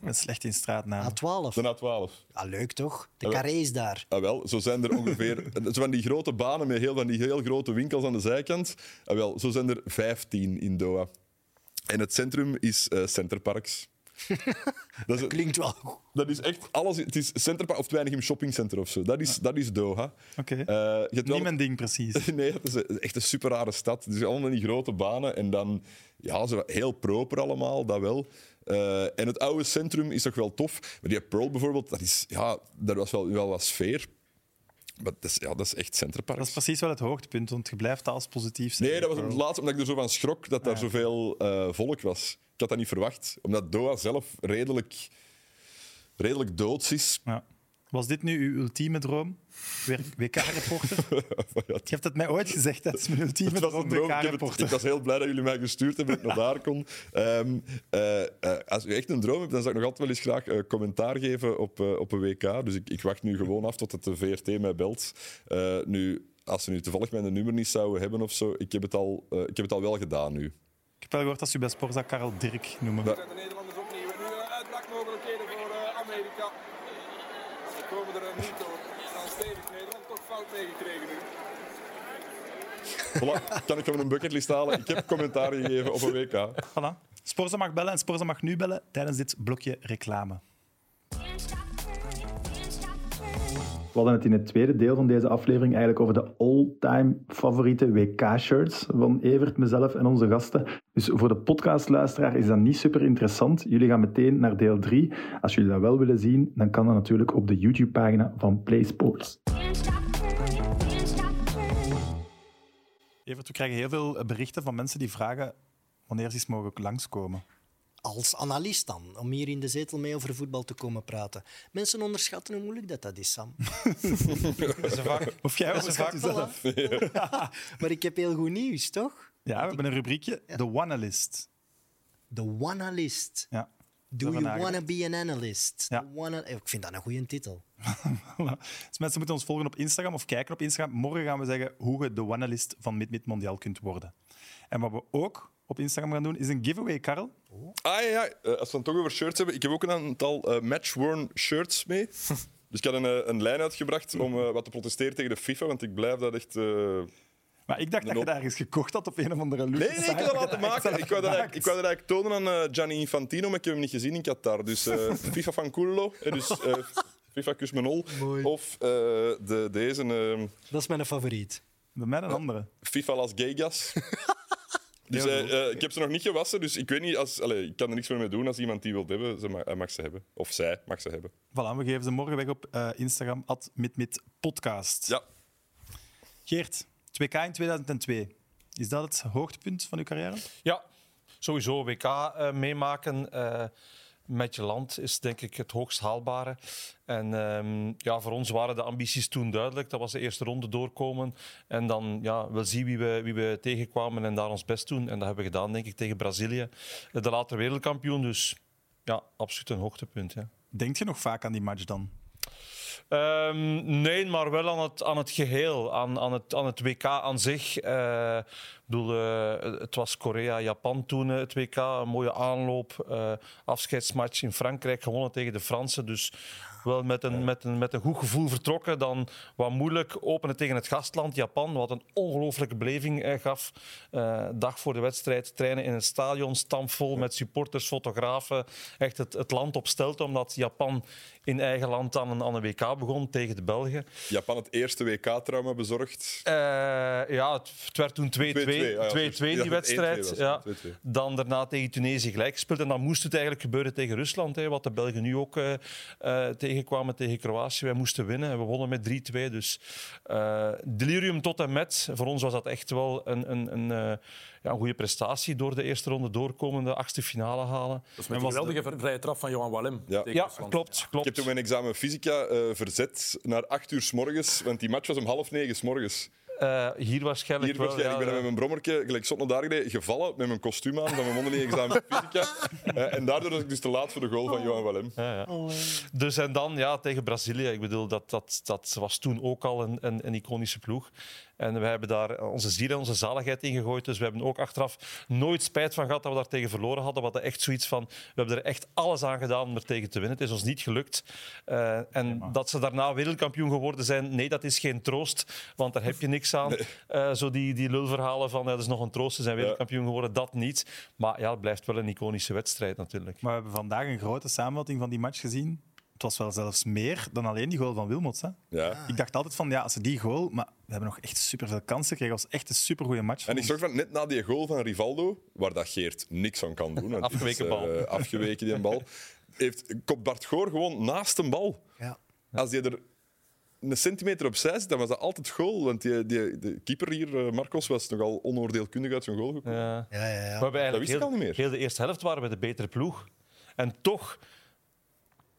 ben slecht in Ah, straatnaam. A12. De A12. Ja, Ah, leuk toch? De carré is daar. Ah, wel, zo zijn er ongeveer. <laughs> eh, zo van die grote banen met heel, van die heel grote winkels aan de zijkant. Ah, wel, zo zijn er 15 in Doha. En het centrum is eh Centerparks. dat, is, Klinkt wel goed. dat is echt alles. Het is Centerpark of het Weinigem shoppingcenter of zo. Dat is, dat is Doha. Oké. Eh, je hebt wel- Niet <laughs> mijn ding, precies. Nee, het is een- echt een super rare stad. Het is allemaal die grote banen en dan ja, zo heel proper allemaal, dat wel. Eh, en het oude centrum is toch wel tof. Maar die Pearl bijvoorbeeld, dat is, ja, daar was wel, wel wat sfeer. Maar dat is, ja, dat is echt Centerpark. Dat is precies wel het hoogtepunt, want je blijft dat als positief zien. Nee, dat was het laatste omdat ik er zo van schrok dat daar zoveel eh, volk was. Ik had dat niet verwacht, omdat Doha zelf redelijk, redelijk doods is. Ja. Was dit nu uw ultieme droom? Weer <laughs> WK-reporter? Je hebt het mij ooit gezegd, dat is mijn ultieme Het was droom, een droom. Ik, heb het- ik WK-reporter. was heel blij dat jullie mij gestuurd hebben dat ik naar daar kon. Ehm, eh, eh, als u echt een droom hebt, dan zou ik nog altijd wel eens graag eh, commentaar geven op, eh, op een WK. Dus ik, ik wacht nu gewoon af totdat de VRT mij belt. Eh, nu, als ze nu toevallig mijn nummer niet zouden hebben of zo, ik heb het al, eh, ik heb het al wel gedaan nu. Ik heb wel gehoord dat ze u bij Sporza Karel Dirk noemen. zijn de Nederlanders opnieuw. En nu eh, uitbakmogelijkheden voor eh, Amerika. Ze komen er eh, niet door. Dan stevig Nederland toch fout meegekregen nu. Voilà, kan ik van een bucketlist halen? Ik heb commentaar gegeven op een WK. Voilà. Sporza mag bellen en Sporza mag nu bellen tijdens dit blokje reclame. Can't stop, can't stop, We hadden het in het tweede deel van deze aflevering eigenlijk over de all-time favoriete WK-shirts van Evert, mezelf en onze gasten. Dus voor de podcastluisteraar is dat niet super interessant. Jullie gaan meteen naar deel 3. Als jullie dat wel willen zien, dan kan dat natuurlijk op de YouTube-pagina van PlaySports. can't stop, can't stop. Evert, we krijgen heel veel eh, berichten van mensen die vragen wanneer ze eens mogen langskomen. Als analist dan, om hier in de zetel mee over voetbal te komen praten. Mensen onderschatten hoe moeilijk dat, dat is, Sam. <laughs> Ze vaak, Of jij was vaak zelf. maar ik heb heel goed nieuws, toch? Ja, we hebben een rubriekje, de One-list. The Analyst. Ja. Do hebben you we wanna be an analyst? Ja. The wanna- Ik vind dat een goede titel. <laughs> Voilà. Dus mensen moeten ons volgen op Instagram of kijken op Instagram. Morgen gaan we zeggen hoe je de wanalist van Mid-Mid Mondiaal kunt worden. En wat we ook op Instagram gaan doen, is een giveaway, Karel. Ah ja, ja. Eh, als we het dan toch over shirts hebben. Ik heb ook een aantal eh, match-worn shirts mee. Dus ik had een, eh, een lijn uitgebracht om eh, wat te protesteren tegen de FIFA, want ik blijf dat echt... eh, Maar ik dacht dat je nood. daar eens gekocht had op een of andere loose Nee, nee, ik site. wil dat laten maken. Ik wou dat, eigenlijk- gemaakt. ik wou dat eigenlijk tonen aan eh, Gianni Infantino, maar ik heb hem niet gezien in Qatar. Dus eh, FIFA van Cullo, eh, dus eh, FIFA Kusmenol. Of eh, de, deze, eh, Dat is mijn favoriet. Bij mij een andere. FIFA Las Vegas. Dus Heel eh, goed. eh, ik heb ze nog niet gewassen, dus ik weet niet... Als, allee, ik kan er niks meer mee doen als iemand die wil hebben. Ze mag, hij mag ze hebben. Of zij mag ze hebben. Voilà, we geven ze morgen weg op eh, Instagram, at midmidpodcast. Ja. Geert, 2K in 2002. Is dat het hoogtepunt van uw carrière? Ja, sowieso WK eh, meemaken. eh, met je land is denk ik het hoogst haalbare. En ehm, ja, voor ons waren de ambities toen duidelijk. Dat was de eerste ronde doorkomen. En dan ja, wel zien wie we, wie we tegenkwamen en daar ons best doen. En dat hebben we gedaan, denk ik, tegen Brazilië. De latere wereldkampioen. Dus ja, absoluut een hoogtepunt. Ja. Denk je nog vaak aan die match dan? Ehm, nee, maar wel aan het, aan het geheel, aan, aan, het, aan het WK aan zich. Eh, ik bedoel, eh, het was Korea-Japan toen, eh, het WK. Een mooie aanloop. eh, afscheidsmatch in Frankrijk, gewonnen tegen de Fransen. Dus wel met een, met, een, met een goed gevoel vertrokken. Dan wat moeilijk openen tegen het gastland, Japan. Wat een ongelooflijke beleving eh, gaf. Eh, dag voor de wedstrijd, trainen in het stadion, stampvol met supporters, fotografen. Echt het, het land op stelte, omdat Japan in eigen land aan een, aan een WK begon tegen de Belgen. Japan het eerste WK-trauma bezorgd. Eh, ja, het, het werd toen 2-2, 2-2, 2-2 ah ja, die ja, 1-2 wedstrijd. was het, ja. 2-2. Dan daarna tegen Tunesië gelijk gespeeld. En dan moest het eigenlijk gebeuren tegen Rusland. Hè, wat de Belgen nu ook eh, eh, tegenkwamen tegen Kroatië. Wij moesten winnen en we wonnen met 3-2. Dus eh, delirium tot en met. Voor ons was dat echt wel een, een, een, eh, ja, een goede prestatie. Door de eerste ronde doorkomen, de achtste finale halen. Dat is met een geweldige vrije trap van Johan Wallem. Ja. tegen Ja, Rusland. klopt. klopt. Ik heb toen mijn examen fysica eh, verzet naar acht uur s morgens, want die match was om half negen s morgens. Eh, hier waarschijnlijk Hier was jij, ik wel. ben dan ja, met mijn brommerke, gelijk zot naar daar gereden, gevallen met mijn kostuum aan van mijn mondeling <laughs> examen fysica. Eh, en daardoor was ik dus te laat voor de goal van Johan Wallem. Dus en dan ja, tegen Brazilië. Ik bedoel, dat, dat, dat was toen ook al een, een, een iconische ploeg. En we hebben daar onze ziel en onze zaligheid in gegooid. Dus we hebben ook achteraf nooit spijt van gehad dat we daar tegen verloren hadden. We hadden echt zoiets van, we hebben er echt alles aan gedaan om er tegen te winnen. Het is ons niet gelukt. Eh, en dat ze daarna wereldkampioen geworden zijn, nee, dat is geen troost. Want daar heb je niks aan. Eh, zo die, die lulverhalen van, ja, dat is nog een troost, ze zijn wereldkampioen geworden. Dat niet. Maar ja, het blijft wel een iconische wedstrijd natuurlijk. Maar we hebben vandaag een grote samenvatting van die match gezien. Het was wel zelfs meer dan alleen die goal van Wilmots. Hè? Ja. Ik dacht altijd van, ja, als ze die goal... Maar we hebben nog echt superveel kansen gekregen. Het was echt een supergoeie match. voor En ik ons. zorg van net na die goal van Rivaldo, waar dat Geert niks aan kan doen. want die Afgeweken is, bal. eh, afgeweken die bal. Heeft, komt Bart Goor gewoon naast een bal. Ja. Als je er een centimeter opzij zit, dan was dat altijd goal. Want die, die, de keeper hier, eh, Marcos, was nogal onoordeelkundig uit zijn goal gekomen. Ja. Ja, ja, ja. We hebben Dat eigenlijk wist ik heel, al niet meer. heel de eerste helft waren we de betere ploeg. En toch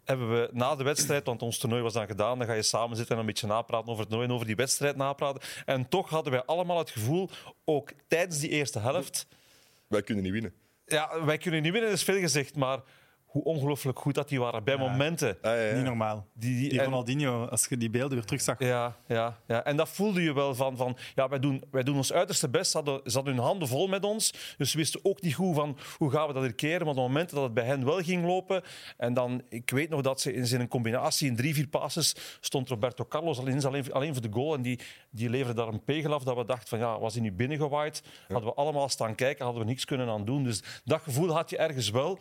hebben we na de wedstrijd, want ons toernooi was dan gedaan, dan ga je samen zitten en een beetje napraten over het toernooi en over die wedstrijd napraten. En toch hadden wij allemaal het gevoel, ook tijdens die eerste helft, Wij kunnen niet winnen. ja, wij kunnen niet winnen, dat is veel gezegd, maar hoe ongelooflijk goed dat die waren bij momenten. Ah, ja, ja. Niet normaal. Die, die, Die en- Ronaldinho, als je die beelden weer terugzag. Ja, ja, ja, en dat voelde je wel van, van ja, wij doen, wij doen ons uiterste best. Ze hadden, ze hadden hun handen vol met ons. Dus ze wisten ook niet goed van, hoe gaan we dat hier keren. Maar op het moment dat het bij hen wel ging lopen... En dan, ik weet nog dat ze in zijn combinatie, in drie, vier passes, stond Roberto Carlos alleen, alleen, alleen voor de goal. En die, die leverde daar een pegel af dat we dachten van, ja, was hij nu binnengewaaid? Hadden we allemaal staan kijken, hadden we niks kunnen aan doen. Dus dat gevoel had je ergens wel.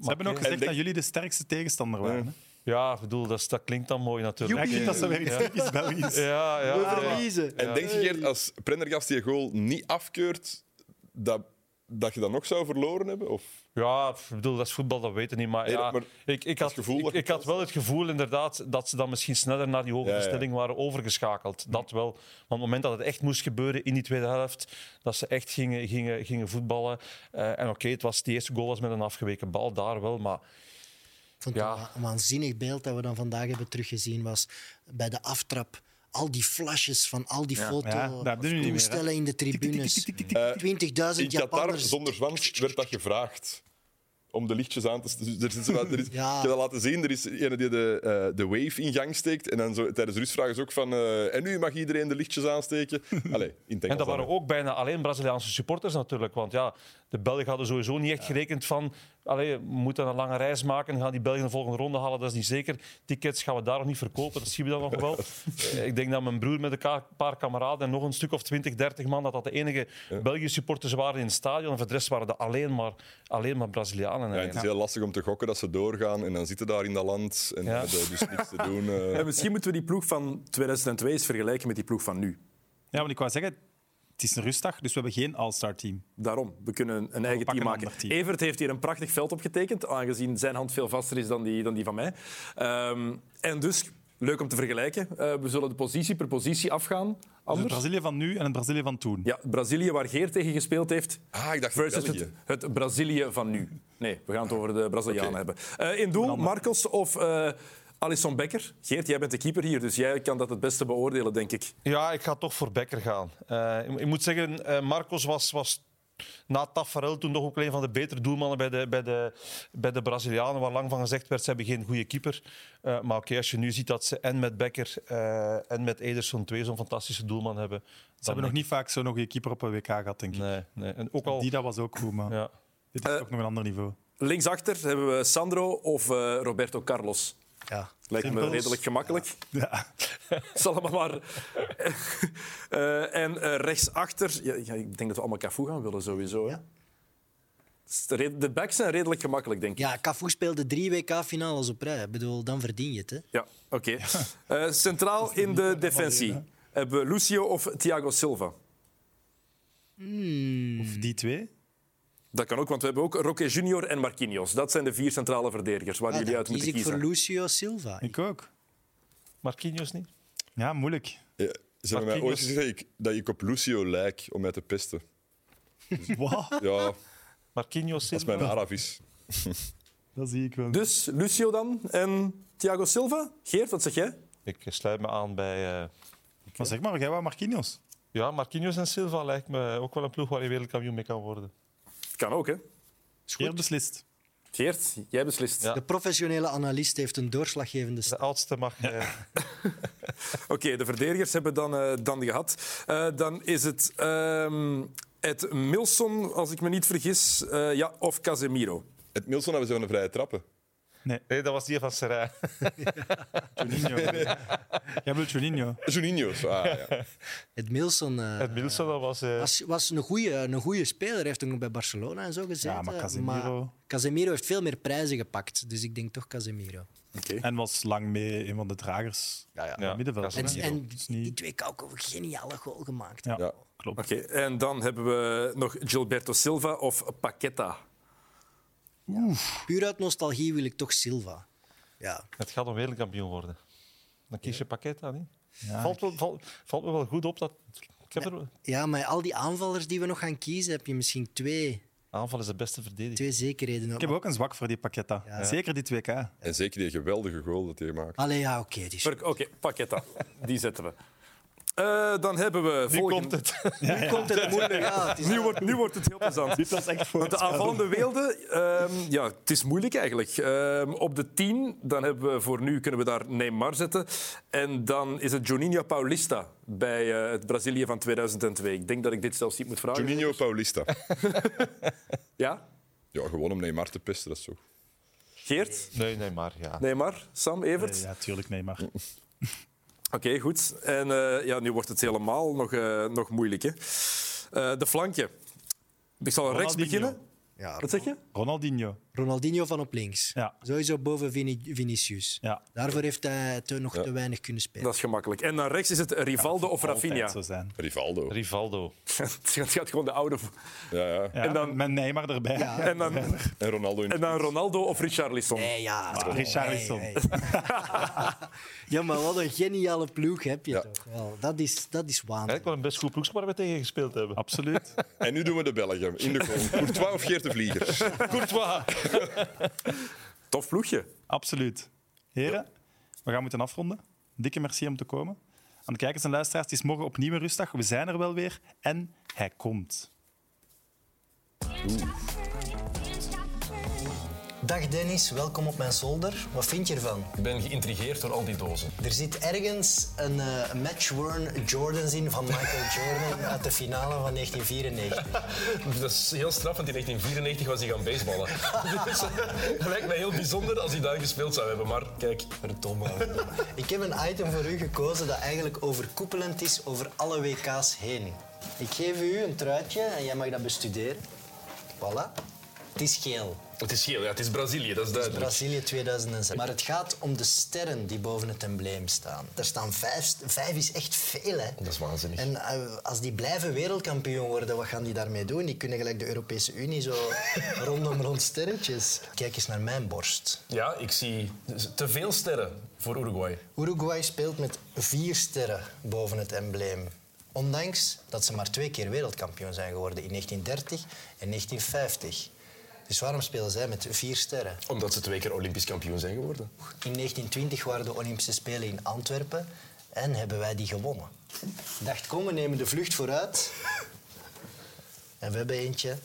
Ze hebben ook gezegd denk- dat jullie de sterkste tegenstander waren. hè. Ja, ik bedoel, dat, is- dat klinkt dan mooi Ja, natuurlijk. ik vind dat zo weer iets typisch Belgisch. Ja, ja, We ja. verliezen. En denk je, Geert, als Prendergast die goal niet afkeurt, dat, dat je dan nog zou verloren hebben? Of Ja, ik bedoel, dat is voetbal, dat weten we niet. Maar, Nee, ja, maar ik, ik, had, gevoel ik, dat je ik had wel het gevoel inderdaad dat ze dan misschien sneller naar die Ja, Hm. ja. hoofdbestelling waren overgeschakeld. Dat wel. Maar op het moment dat het echt moest gebeuren in die tweede helft, dat ze echt gingen, gingen, gingen voetballen. Eh, en oké, het was die eerste goal was met een afgeweken bal, daar wel. Maar Ik vond het Ja. een wa- een waanzinnig beeld dat we dan vandaag hebben teruggezien was bij de aftrap. Al die flashes van al die foto, Ja, dat hebben we nu niet meer, hè. toestellen in de tribunes. 20.000 in Qatar Japanners. zonder zwans werd dat gevraagd? Om de lichtjes aan te steken. Er is, er is, Ik Ja. heb dat laten zien. Er is ene die de, eh, de wave in gang steekt. En dan zo, tijdens de rustvraag is ook van. eh, en nu mag iedereen de lichtjes <laughs> aansteken. Allee, in het Engels En dat dan, waren hè. ook bijna alleen Braziliaanse supporters natuurlijk. Want ja, de Belgen hadden sowieso niet echt gerekend van... Allee, we moeten een lange reis maken, gaan die Belgen de volgende ronde halen, dat is niet zeker. Tickets gaan we daar nog niet verkopen, dat zien we dan <laughs> nog wel. Eh, Ik denk dat mijn broer met een ka- paar kameraden en nog een stuk of 20, 30 man, dat dat de enige Belgische supporters waren in het stadion. En voor de rest waren dat alleen maar, alleen maar Brazilianen. Ja, het is eigenlijk. heel lastig om te gokken dat ze doorgaan. En dan zitten daar in dat land. En Ja. hebben dus niks te doen. eh. En misschien moeten we die ploeg van 2002 eens vergelijken met die ploeg van nu. Ja, want ik wou zeggen, het is een rustdag, dus we hebben geen all-star team. Daarom, we kunnen een eigen team pakken een maken. ander team. Evert heeft hier een prachtig veld opgetekend, aangezien zijn hand veel vaster is dan die, dan die van mij. Ehm, en dus Leuk om te vergelijken. Eh, we zullen de positie per positie afgaan. Dus het Anders. Brazilië van nu en het Brazilië van toen. Ja, Brazilië waar Geert tegen gespeeld heeft. Ah, ik dacht Versus België. het, het Brazilië van nu. Nee, we gaan het over de Brazilianen Oké. hebben. Eh, in doel, Marcos of eh Alisson Becker? Geert, jij bent de keeper hier, dus jij kan dat het beste beoordelen, denk ik. Ja, ik ga toch voor Becker gaan. Eh, ik, ik moet zeggen, eh, Marcos was, was na Tafarel toen toch ook een van de betere doelmannen bij de, bij de, bij de Brazilianen, waar lang van gezegd werd, ze hebben geen goede keeper. Eh, maar oké, als je nu ziet dat ze en met Becker eh, en met Ederson twee zo'n fantastische doelman hebben... eh, Ze hebben nog niet vaak zo'n goede keeper op een WK gehad, denk ik. Nee, nee. En ook al... Die dat was ook goed, maar Ja. dit is toch nog een ander niveau. Linksachter hebben we Sandro of eh, Roberto Carlos. Ja. Lijkt me Simpels. redelijk gemakkelijk. Ja. Het is allemaal maar. Eh, en eh, rechtsachter. Ja, ja, ik denk dat we allemaal Cafu gaan willen, sowieso. hè. Ja. Het is de red- De backs zijn redelijk gemakkelijk, denk ik. Ja, Cafu speelde drie WK-finales op rij. Ik bedoel, dan verdien je het. Hè. Ja, oké. Eh, centraal in de defensie hebben we Lucio of Thiago Silva. Of die twee. Dat kan ook, want we hebben ook Roque Junior en Marquinhos. Dat zijn de vier centrale verdedigers waar Ja, jullie Ah, dan uit kies moeten ik voor kiezen. Lucio Silva. Ik ook. Marquinhos niet? Ja, moeilijk. Ja, ze hebben mij ooit Marquinhos- gezegd dat ik, dat ik op Lucio lijk om mij te pesten. Wat? Ja, Marquinhos dat is Silva? mijn Arab is. Dat zie ik wel. Dus Lucio dan en Thiago Silva. Geert, wat zeg jij? Ik sluit me aan bij... eh, Maar zeg maar, jij wou Marquinhos. ja, Marquinhos en Silva lijkt me ook wel een ploeg waar je wereldkampioen mee kan worden. Kan ook, hè? Eer beslist. Geert, jij beslist. Ja. De professionele analist heeft een doorslaggevende De stem. oudste mag... eh, Oké, de verdedigers hebben dan, eh, dan gehad. Eh, dan is het ehm Ed Milson, als ik me niet vergis, eh, ja, of Casemiro. Het Milson hebben ze van de vrije trappen. Nee, dat was die van <laughs> Serrain. Juninho. jij wilt Juninho. Juninho. Ah, ja. Het Milson eh, Het Wilson, dat was... eh, was, was een goede een goeie speler. heeft ook bij Barcelona en zo gezeten. Ja, maar Casemiro- Casemiro heeft veel meer prijzen gepakt. Dus ik denk toch Casemiro. En was lang mee een van de dragers ja. in het middenveld. Ja, En, Casemiro. en Dus die niet... twee Kauko een geniale goal gemaakt. Ja, Ja. klopt. Oké, en dan hebben we nog Gilberto Silva of Paqueta. Puur uit nostalgie wil ik toch Silva. Ja. Het gaat om wereldkampioen worden. Dan kies je pakket aan. hè? Ja. Valt, wel- valt, valt me wel goed op dat. Ik heb er, ja, met al die aanvallers die we nog gaan kiezen, heb je misschien twee, aanval is de beste verdediging. twee zekerheden. Ik heb ook een zwak voor die Paqueta. Ja. Zeker die 2K. En zeker die geweldige goal dat hij maakt. Allee, ja, oké. die is- Ver- Oké, Paqueta. Die zetten we. Eh, dan hebben we... Nu volgende- komt het. <laughs> Nu komt het moeilijk. Ja, het is Nu wordt, nu wordt het heel plezant. Dit was echt voor Want de aanvallende weelde, ehm, ja, het is moeilijk eigenlijk. Ehm, op de 10, dan hebben we voor nu kunnen we daar Neymar zetten. En dan is het Juninho Paulista bij eh, het Brazilië van 2002. Ik denk dat ik dit zelfs niet moet vragen. Juninho Paulista. Ja? Ja, gewoon om Neymar te pesten, dat is zo. Geert? Nee, nee, maar ja. Neymar? Sam? Evert? Ja, tuurlijk, nee, maar. Oké, goed. En eh, ja, nu wordt het helemaal nog, eh, nog moeilijk. Hè? Eh, de flankje. Ik zal rechts Ronaldinho. beginnen. Ja, Wat zeg je? Ronaldinho. Ronaldinho van op links. Ja. Sowieso boven Vini- Vinicius. Ja. Daarvoor heeft hij te, nog te weinig kunnen spelen. Dat is gemakkelijk. En dan rechts is het Rivaldo of Rafinha. Altijd zo zijn. Rivaldo. Rivaldo. <laughs> het gaat gewoon de oude... vo- Ja, ja. Ja, En dan- Met Neymar erbij. <laughs> En dan, En Ronaldo in en dan Ronaldo of Richarlison. Nee, ja. Ah, Richarlison. Nee, nee. ja, maar wat een geniale ploeg heb je Ja. toch wel. Dat is, dat is waanzinnig. Eigenlijk wel een best goed ploegsmaar we tegen gespeeld hebben. Absoluut. En nu doen we de Belgen in de goal. Courtois of Geert de Vlieger? Courtois. Tof ploegje. Absoluut. Heren, we gaan moeten afronden. Dikke merci om te komen. Aan de kijkers en luisteraars, het is morgen opnieuw een rustdag. We zijn er wel weer en hij komt. Dag Dennis, welkom op mijn zolder. Wat vind je ervan? Ik ben geïntrigeerd door al die dozen. <laughs> Er zit ergens een eh, match-worn Jordans in van Michael Jordan uit de finale <laughs> van 1994. Dat is heel straf, want in 1994 was hij gaan baseballen. <laughs> dus eh, dat lijkt mij heel bijzonder als hij daar gespeeld zou hebben. Maar kijk, verdomme. Ik heb een item voor u gekozen dat eigenlijk overkoepelend is over alle WK's heen. Ik geef u een truitje en jij mag dat bestuderen. Voilà. Het is geel. <laughs> Het is geel, ja, het is Brazilië, dat is duidelijk. Brazilië 2006. Maar het gaat om de sterren die boven het embleem staan. Er staan vijf. st- Vijf is echt veel, hè. Dat is waanzinnig. En eh, als die blijven wereldkampioen worden, wat gaan die daarmee doen? Die kunnen gelijk de Europese Unie zo <laughs> rondom rond sterretjes. Kijk eens naar mijn borst. Ja, ik zie te veel sterren voor Uruguay. Uruguay speelt met vier sterren boven het embleem. Ondanks dat ze maar twee keer wereldkampioen zijn geworden in 1930 en 1950. Dus waarom spelen zij met vier sterren? Omdat ze twee keer Olympisch kampioen zijn geworden. In 1920 waren de Olympische Spelen in Antwerpen en hebben wij die gewonnen. Ik dacht, kom, we nemen de vlucht vooruit. En we hebben eentje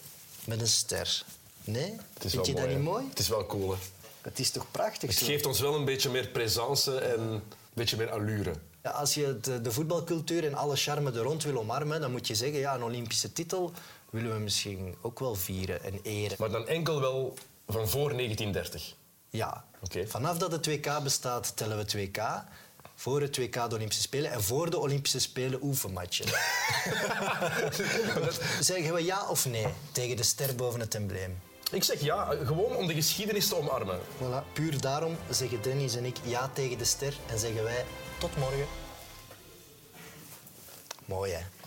met een ster. Nee? Het is Vind je wel dat niet hè? mooi? Het is wel cool. hè. Het is toch prachtig Het zo? geeft ons wel een beetje meer présence en een beetje meer allure. Ja, als je het, de voetbalcultuur en alle charme er rond wil omarmen, dan moet je zeggen, ja, een Olympische titel willen we misschien ook wel vieren en eren. Maar dan enkel wel van voor 1930. Ja, Oké. vanaf dat het WK bestaat tellen we 2K. Voor het WK de Olympische Spelen en voor de Olympische Spelen <laughs> oefenmatchen. <laughs> zeggen we ja of nee tegen de ster boven het embleem? Ik zeg ja, gewoon om de geschiedenis te omarmen. Voilà. Puur daarom zeggen Dennis en ik ja tegen de ster en zeggen wij tot morgen. Mooi hè?